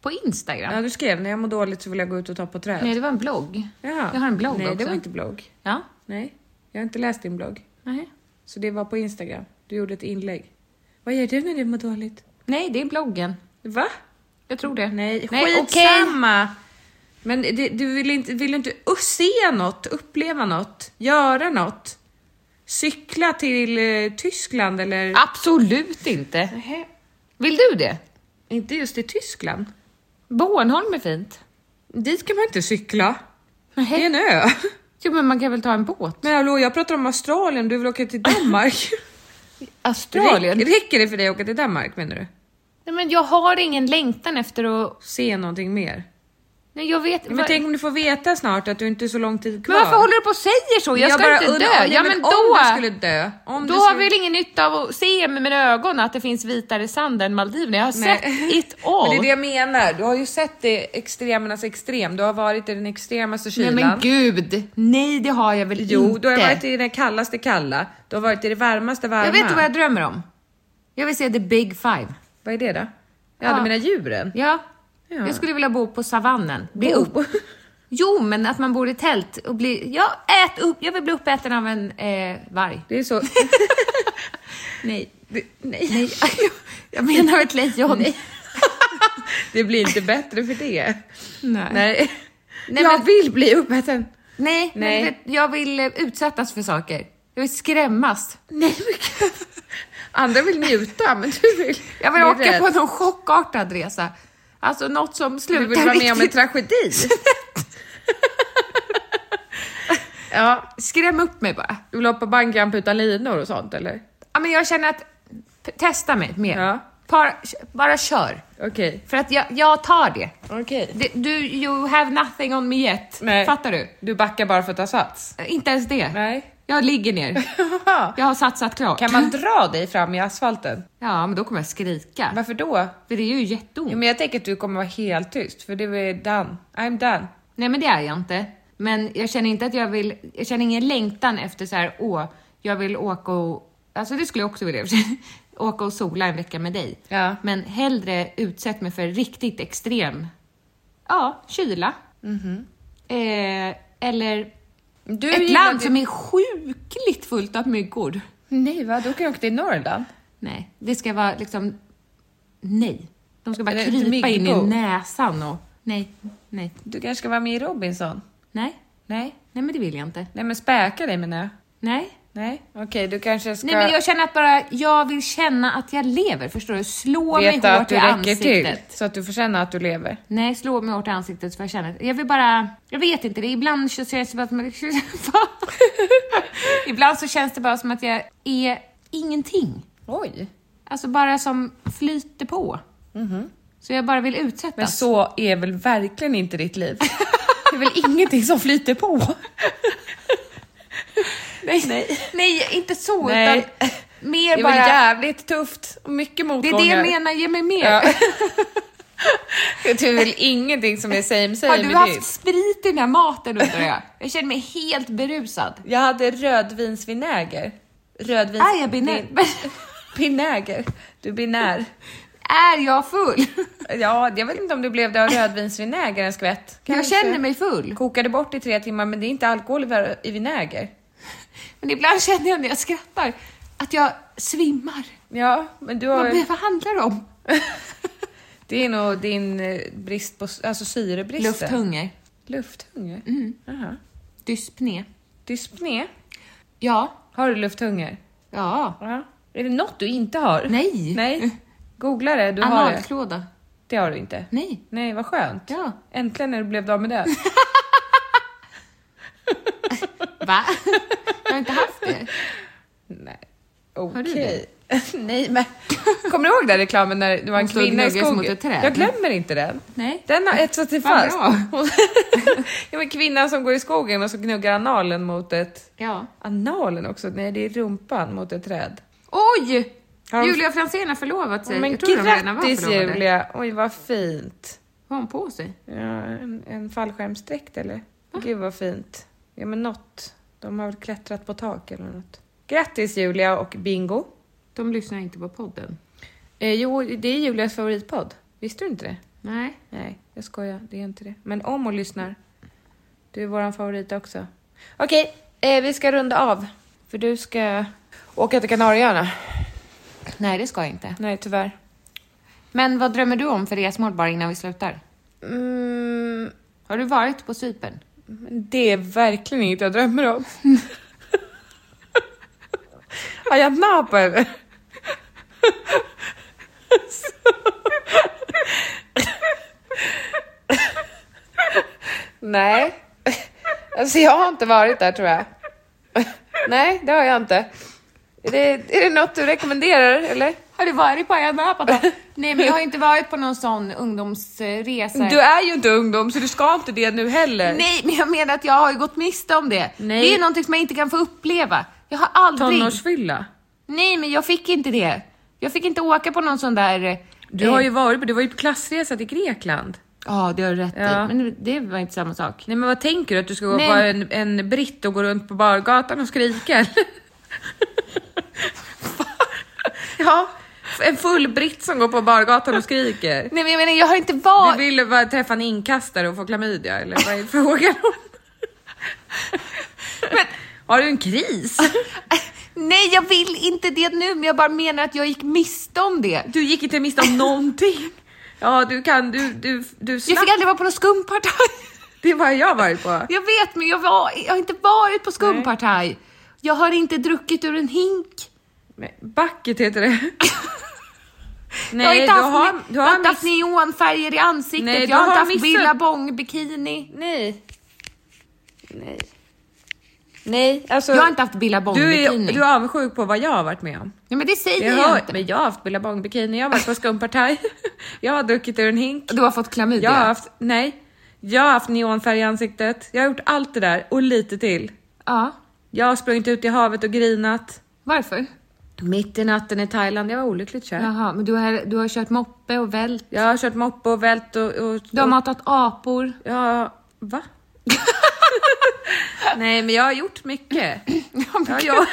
S2: På Instagram?
S1: Ja, du skrev när jag mår dåligt så vill jag gå ut och ta på träd.
S2: Nej, det var en blogg.
S1: ja.
S2: Jag har en blogg
S1: Nej,
S2: också.
S1: det var inte blogg.
S2: Ja.
S1: Nej, jag har inte läst din blogg.
S2: Nej.
S1: Så det var på Instagram. Du gjorde ett inlägg. Vad gör du när du mår dåligt?
S2: Nej, det är bloggen.
S1: Va?
S2: Jag tror det.
S1: Nej,
S2: okej.
S1: skitsamma! Men det, du vill inte, vill inte uh, se något, uppleva något, göra något? Cykla till eh, Tyskland eller?
S2: Absolut inte.
S1: Nähä,
S2: Vill du det?
S1: inte just i Tyskland.
S2: Bornholm är fint.
S1: Dit kan man inte cykla. Det är
S2: Nej.
S1: en ö.
S2: Jo, men man kan väl ta en båt?
S1: Men hallå, jag pratar om Australien, du vill åka till Danmark.
S2: Australien?
S1: Räcker, räcker det för dig att åka till Danmark menar du?
S2: Nej, men jag har ingen längtan efter att...
S1: Se någonting mer?
S2: Nej, jag vet...
S1: Men
S2: vad-
S1: tänk om du får veta snart att du inte är så lång tid kvar.
S2: Men varför håller du på och säger så? Jag, ska inte
S1: undrar-
S2: dö!
S1: Nej,
S2: ja, men,
S1: men
S2: då,
S1: om du skulle dö. Om
S2: då
S1: du
S2: har
S1: skulle...
S2: vi väl ingen nytta av att se med mina ögon att det finns vitare sand än Maldiverna. Jag har sett it all.
S1: Men det är det jag menar. Du har ju sett det extremernas extrem. Du har varit i den extremaste
S2: Nej
S1: kylan.
S2: men gud! Nej det har jag väl
S1: Jo,
S2: inte?
S1: du har varit i den kallaste kalla. Du har varit i det varmaste varma.
S2: Jag vet vad jag drömmer om. Jag vill se the big five.
S1: Vad är det då? Jag hade
S2: Ja.
S1: mina djuren.
S2: Ja.
S1: Ja. Oh.
S2: Jag skulle vilja bo på savannen. Bli
S1: Bo.
S2: upp. Jo, men att man bor i tält och bli... Ja, ät upp! Jag vill bli uppäten av en eh, varg.
S1: Det är så...
S2: Nej.
S1: Det, nej.
S2: Nej, jag menar ett lejon. Nej.
S1: det blir inte bättre för det.
S2: Nej.
S1: Nej.
S2: Nej,
S1: jag
S2: men-
S1: vill bli uppäten.
S2: Nej, men
S1: Nej.
S2: vet- jag vill eh, utsättas för saker. Jag vill skrämmas.
S1: Nej, men gud. Andra vill njuta, men du vill...
S2: Jag vill
S1: bli
S2: åka
S1: rädd.
S2: på någon chockartad resa. Alltså något som slutar
S1: Du vill vara med om en
S2: riktigt-
S1: tragedi. ja.
S2: Skräm upp mig bara.
S1: Du vill hoppa bungyjump utan linor och sånt eller?
S2: Ja, men jag känner att p- testa mig mer.
S1: Ja.
S2: Bara, bara kör.
S1: Okej. Okay.
S2: För att jag, jag tar det.
S1: Okej.
S2: Det- Du, you have nothing on me yet.
S1: Nej.
S2: Fattar du?
S1: Du backar bara för att ta sats?
S2: Eh, Inte ens det.
S1: Nej.
S2: Jag ligger ner. Jag har satsat klart.
S1: kan man dra dig fram i asfalten?
S2: Ja, men då kommer jag skrika.
S1: Varför då?
S2: För det är ju jätteont.
S1: Ja, men jag tänker att du kommer vara helt tyst, för det är done. I'm done.
S2: Nej, men det är jag inte. Men jag känner inte att jag vill, jag känner ingen längtan efter så här, åh, jag vill åka och, alltså det skulle jag också vilja i och för sig. åka och sola en vecka med dig.
S1: Ja.
S2: Men hellre utsätt mig för riktigt extrem, ja, kyla.
S1: Mhm.
S2: Eh, eller
S1: Du
S2: ett
S1: gillar
S2: land
S1: det-
S2: som är sjukligt fullt av myggor.
S1: Nej va, då kan jag åka till Norrland.
S2: Nej, det ska vara liksom, nej. De ska bara
S1: Eller ett
S2: krypa in i
S1: myggbo.
S2: näsan och, nej, nej,
S1: Du kanske ska vara med i Robinson?
S2: nej,
S1: Nej.
S2: nej men det vill jag inte.
S1: Nej men späka dig menar jag.
S2: Nej.
S1: Nej, okej du kanske ska
S2: Nej men jag känner att bara, jag vill känna att jag lever, förstår du? Slå mig
S1: veta
S2: hårt
S1: att
S2: i
S1: du räcker till
S2: ansiktet.
S1: så att du får känna att du lever.
S2: Nej, slå mig hårt i ansiktet för jag känner, jag vill bara, jag vet inte, det ibland så känns det bara som att Ibland så känns det bara som att jag är ingenting.
S1: Oj!
S2: Alltså bara som flyter på. Så jag bara vill utsättas.
S1: Mhm. Men så är väl verkligen inte ditt liv? Det är väl ingenting som flyter på?
S2: nej, nej. inte så,
S1: Nej.
S2: utan
S1: Det
S2: mer
S1: var
S2: bara...
S1: jävligt tufft och mycket
S2: Det är
S1: motgångar.
S2: det jag menar, ge mig mer.
S1: Ja. Det är väl ingenting som är same same
S2: Har du
S1: med
S2: haft
S1: ditt.
S2: sprit i den här maten undrar jag? Jag känner mig helt berusad.
S1: Jag hade rödvinsvinäger. Rödvins...
S2: Är jag Ah, binär?
S1: Vin- Binäger. Du är binär.
S2: Är jag full?
S1: Ja, jag vet inte om du blev det av rödvinsvinäger en skvätt.
S2: Jag
S1: Kanske.
S2: känner mig full.
S1: Kokade bort i tre timmar, men det är inte alkohol i vä- i vinäger.
S2: Men ibland känner jag när jag skrattar att jag svimmar.
S1: Ja, men du
S2: Vad,
S1: har...
S2: vad handlar det om?
S1: Det är nog din eh, brist på... s- Alltså syrebristen.
S2: Lufthunger.
S1: Lufthunger?
S2: Mm.
S1: Aha.
S2: Dyspné.
S1: Dyspné?
S2: Ja.
S1: Har du lufthunger?
S2: Ja.
S1: Ja. Är det något du inte har?
S2: Nej.
S1: Nej. Googla det, Eh, du har det.
S2: Analklåda.
S1: Det har du inte.
S2: Nej.
S1: Nej, vad skönt.
S2: Ja.
S1: Äntligen när du blev av med det.
S2: Va? Jag har inte haft det.
S1: Nej.
S2: du
S1: Okej. Nej, men kommer du ihåg den reklamen när det var en
S2: Hon stod och
S1: kvinna i
S2: gnuggade sig
S1: skogen?
S2: mot ett träd.
S1: Jag glömmer inte den.
S2: Nej.
S1: Den har etsat sig
S2: Vad
S1: fast.
S2: bra.
S1: Hon- ja, men kvinnan som går i skogen och så gnuggar analen mot ett...
S2: Ja.
S1: Analen också? Nej, det är rumpan mot ett träd.
S2: Oj!
S1: Har de-
S2: Julia Franzén har förlovat sig.
S1: men
S2: jag tror de redan var
S1: grattis
S2: förlovade.
S1: Julia! Oj, vad fint.
S2: Vad har hon på sig?
S1: Ja, en, en fallskärmsdräkt eller? Gud vad fint. Ja, men något. De har väl klättrat på tak eller något. Grattis Julia och Bingo!
S2: De lyssnar inte på podden.
S1: Eh, jo, det är Julias favoritpodd. Visste du inte det?
S2: Nej.
S1: Nej, jag skojar. Det är inte det. Men om hon lyssnar. Du är våran favorit också. Okej, eh, vi ska runda av. För du ska åka till Kanarieöarna.
S2: Nej, det ska jag inte.
S1: Nej, tyvärr.
S2: Men vad drömmer du om för resmål bara innan vi slutar?
S1: Mm,
S2: Har du varit på Cypern?
S1: det är verkligen inget jag drömmer om. Har jag napa eller? Nej. Alltså jag har inte varit där tror jag. Nej, det har jag inte. Är det, är det något du rekommenderar eller?
S2: Har du varit på Ayia Napa då? Nej, men jag har inte varit på någon sån ungdomsresa.
S1: Du är ju inte ungdom så du ska inte det nu heller.
S2: Nej, men jag menar att jag har ju gått miste om det.
S1: Nej.
S2: Det är någonting som jag inte kan få uppleva. Jag har aldrig...
S1: Tonårsfylla.
S2: Nej, men jag fick inte det. Jag fick inte åka på någon sån där... eh,
S1: Du har ju varit på, du var ju på klassresa till Grekland.
S2: Ja, det har du rätt
S1: Ja.
S2: i. Men det var inte samma sak.
S1: Nej men vad tänker du? Att du ska gå
S2: Nej.
S1: vara en, en britt och gå runt på bargatan och skrika eller? ja, en full britt som går på bargatan och skriker.
S2: Nej, men jag menar, jag har inte
S1: Du
S2: varit...
S1: ville bara träffa en inkastare och få klamydia eller vad är frågan om? Har du en kris?
S2: Nej, jag vill inte det nu, men jag bara menar att jag gick miste om det.
S1: Du gick inte miste om någonting. Ja, du kan, du, du, du
S2: Jag
S1: slapp.
S2: fick aldrig vara på någon skumpartaj.
S1: Det var jag varit på.
S2: Jag vet, men jag, var, jag har inte varit på skumpartaj. Jag har inte druckit ur en hink.
S1: Men Bucket heter det.
S2: jag har
S1: Nej,
S2: inte
S1: du
S2: haft,
S1: har,
S2: ni-
S1: du
S2: jag har inte
S1: har
S2: haft
S1: miss...
S2: neonfärger i ansiktet.
S1: Nej, du
S2: jag har inte
S1: har
S2: haft
S1: missat-
S2: Billabong bikini.
S1: Nej. Nej. Nej, alltså,
S2: jag har inte haft billabong-bikini.
S1: Du, du är avundsjuk på vad jag har varit med om.
S2: Nej, men det säger
S1: jag,
S2: jag
S1: har,
S2: inte.
S1: Men jag har haft billabong-bikini, jag har varit på skumpartaj, jag har druckit ur en hink.
S2: Du har fått klamydia.
S1: Jag har haft, nej, jag har haft neonfärg i ansiktet. Jag har gjort allt det där och lite till.
S2: Ja.
S1: Jag har sprungit ut i havet och grinat.
S2: Varför?
S1: Mitt i natten i Thailand, jag var olyckligt kär.
S2: Jaha, men du har, du har kört moppe och vält.
S1: Jag har kört moppe och vält och... och, och
S2: du har matat apor.
S1: Ja, va? Nej, men jag har gjort mycket.
S2: Ja,
S1: Jag har, jobb...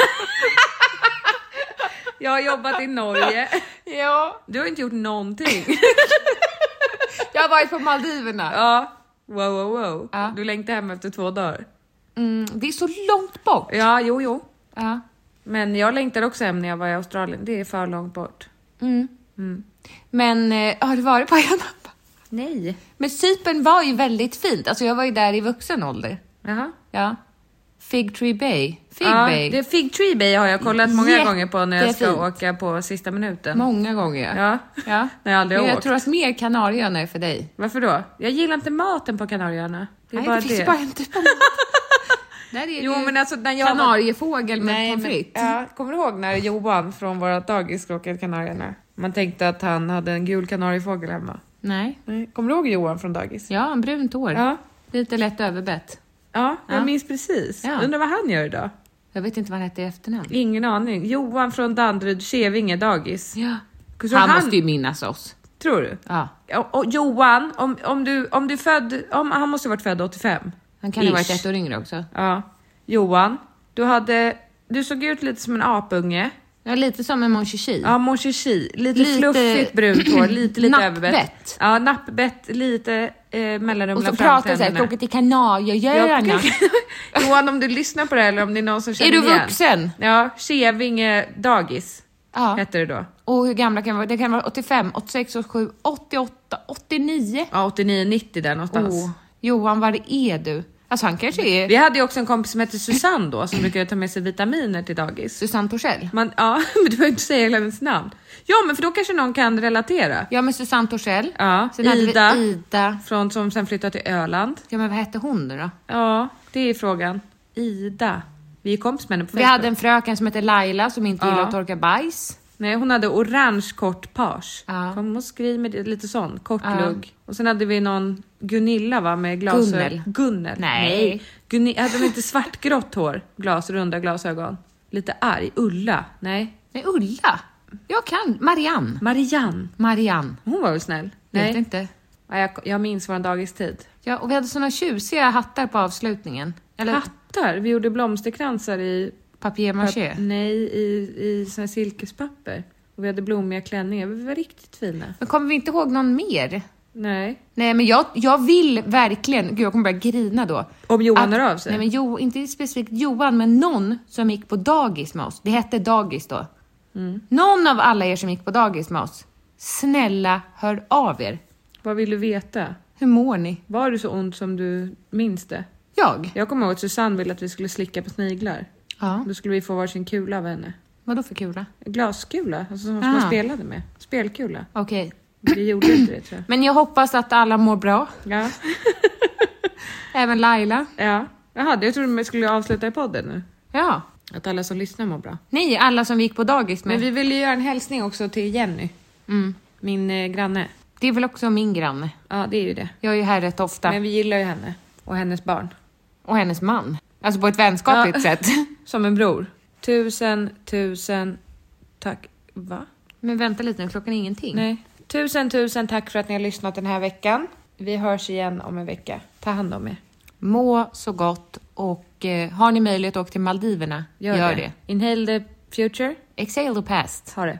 S1: jag har jobbat i Norge.
S2: ja.
S1: Du har inte gjort någonting.
S2: Jag har varit på Maldiverna.
S1: Ja, wow, wow, wow.
S2: Ja.
S1: Du längtar hem efter två dagar.
S2: Mm, det är så långt bort.
S1: Ja, jo, jo.
S2: Ja.
S1: Men jag längtade också hem när jag var i Australien. Det är för långt bort.
S2: Mm. Men eh, har du varit på Ayia Napa?
S1: Nej.
S2: Men Cypern var ju väldigt fint. Alltså jag var ju där i vuxen ålder.
S1: Jaha.
S2: Ja. Fig Tree Bay. Fig
S1: ja,
S2: Bay.
S1: Det Fig Tree Bay har jag kollat många
S2: Jättefint.
S1: gånger på när jag ska åka på sista minuten.
S2: Många gånger.
S1: Ja.
S2: ja.
S1: När jag aldrig har
S2: Men jag
S1: åkt.
S2: tror att mer Kanarieöarna är för dig.
S1: Varför då? Jag gillar inte maten på Kanarieöarna. Det är
S2: Nej,
S1: bara
S2: det
S1: det.
S2: finns bara inte på något. Där är
S1: Jo,
S2: det ju
S1: men alltså, när jag var-
S2: kanariefågel med
S1: Nej,
S2: pommes
S1: men,
S2: frites.
S1: ja, kommer du ihåg när Johan från vårt dagis råkade Kanarierna? Man tänkte att han hade en gul kanariefågel hemma.
S2: Nej.
S1: Kommer du ihåg Johan från dagis?
S2: Ja, en brunt hår.
S1: Ja.
S2: Lite lätt överbett.
S1: Ja, jag
S2: Ja.
S1: minns precis.
S2: Ja.
S1: Undrar vad han gör idag?
S2: Jag vet inte vad han hette i efternamn.
S1: Ingen aning. Johan från Danderyd, Kävinge dagis.
S2: Ja.
S1: Tror
S2: Han,
S1: han-
S2: måste ju minnas oss.
S1: Tror du?
S2: Ja.
S1: Och, och Johan, om, om, du, om du är född... Om, han måste ha varit född 85.
S2: Han kan ha varit
S1: Ish.
S2: ett år yngre också.
S1: Ja. Johan, du hade... Du såg ut lite som en apunge.
S2: Ja, lite som en mon Chichi.
S1: Ja, mon chichi. Lite,
S2: Lite-
S1: fluffigt brunt hår, lite, lite överbett.
S2: Nappbett.
S1: Ja, nappbett, lite eh, mellanrum
S2: Och så
S1: mellan
S2: pratar så här,
S1: framtänderna.
S2: jag åker till Kanarieöarna.
S1: Johan, om du lyssnar på det här eller om det är någon som känner
S2: Är du
S1: igen.
S2: vuxen?
S1: Ja, Kävinge dagis
S2: Ja.
S1: hette det då.
S2: Och hur gamla kan vi vara? Det kan vara 85, 86, 87, 88, 89.
S1: Ja, 89, 90 där någonstans.
S2: Oh, Johan, vad är du? Alltså han kanske
S1: Vi
S2: är
S1: hade ju också en kompis som hette Susanne då som brukade ta med sig vitaminer till dagis.
S2: Susanne Torssell.
S1: Man, ja, men du behöver inte säga hela hennes namn. Ja, men för då kanske någon kan relatera.
S2: Ja, men Susanne Torssell.
S1: Ja,
S2: Sen hade
S1: Ida.
S2: vi Ida.
S1: Från som sen flyttade till Öland.
S2: Ja, men vad hette hon nu då?
S1: Ja, det är frågan. Ida. Vi är kompis med henne på
S2: Vi
S1: Facebook.
S2: hade en fröken som hette Laila som inte
S1: Ja.
S2: gillade att torka bajs.
S1: Nej, hon hade orange kort page.
S2: Ja.
S1: Kom och skriv med det, lite sån, kort
S2: Ja.
S1: lugg. Och sen hade vi någon Gunilla va med glasögon.
S2: Gunnel.
S1: Gunnel.
S2: Nej.
S1: Gunni- hade de inte svartgrått hår? Glas, runda glasögon. Lite arg. Ulla? Nej.
S2: Nej, Ulla. Jag kan. Marianne.
S1: Marianne?
S2: Marianne.
S1: Hon var väl snäll?
S2: Vet
S1: Nej.
S2: inte.
S1: Ja, jag, jag minns vår dagistid.
S2: Ja, och vi hade såna tjusiga hattar på avslutningen. Eller
S1: Hattar? Vi gjorde blomsterkransar i...
S2: papier
S1: pap-
S2: maché.
S1: Nej, i, i såna här silkespapper. Och vi hade blommiga klänningar. Vi var riktigt fina.
S2: Men kommer vi inte ihåg någon mer?
S1: Nej.
S2: Nej, men jag, jag vill verkligen, gud jag kommer börja grina då.
S1: Om Johan hör av sig?
S2: Nej, men jo, inte specifikt Johan, men någon som gick på dagis med oss. Det hette dagis då. Någon av alla er som gick på dagis med oss. Snälla, hör av er.
S1: Vad vill du veta?
S2: Hur mår ni?
S1: Var du så ond som du minns det?
S2: Jag?
S1: Jag kommer ihåg att Susanne ville att vi skulle slicka på sniglar.
S2: Ja.
S1: Då skulle vi få varsin kula av henne.
S2: Vadå för kula?
S1: En glaskula, alltså som
S2: Ah.
S1: man spelade med. Spelkula.
S2: Okej.
S1: Vi gjorde inte det tror jag.
S2: Men jag hoppas att alla mår bra.
S1: Ja.
S2: Även Laila.
S1: ja. Jaha, jag trodde vi skulle avsluta i podden nu.
S2: Ja.
S1: Att alla som lyssnar mår bra.
S2: Ni, alla som vi gick på dagis med.
S1: Men vi vill ju göra en hälsning också till Jenny,
S2: Mm.
S1: min eh, granne.
S2: Det är väl också min granne.
S1: Ja, det är ju det.
S2: Jag är ju här rätt ofta.
S1: Men vi gillar ju henne och hennes barn.
S2: Och hennes man. Alltså på ett vänskapligt
S1: Ja.
S2: sätt.
S1: Som en bror. Tusen, tusen tack. Va?
S2: Men vänta lite nu, klockan är ingenting.
S1: Nej. Tusen, tusen tack för att ni har lyssnat den här veckan. Vi hörs igen om en vecka. Ta hand om er.
S2: Må så gott och eh, har ni möjlighet att åka till Maldiverna, gör, det.
S1: Inhale the future.
S2: Exhale the past.
S1: Ha det.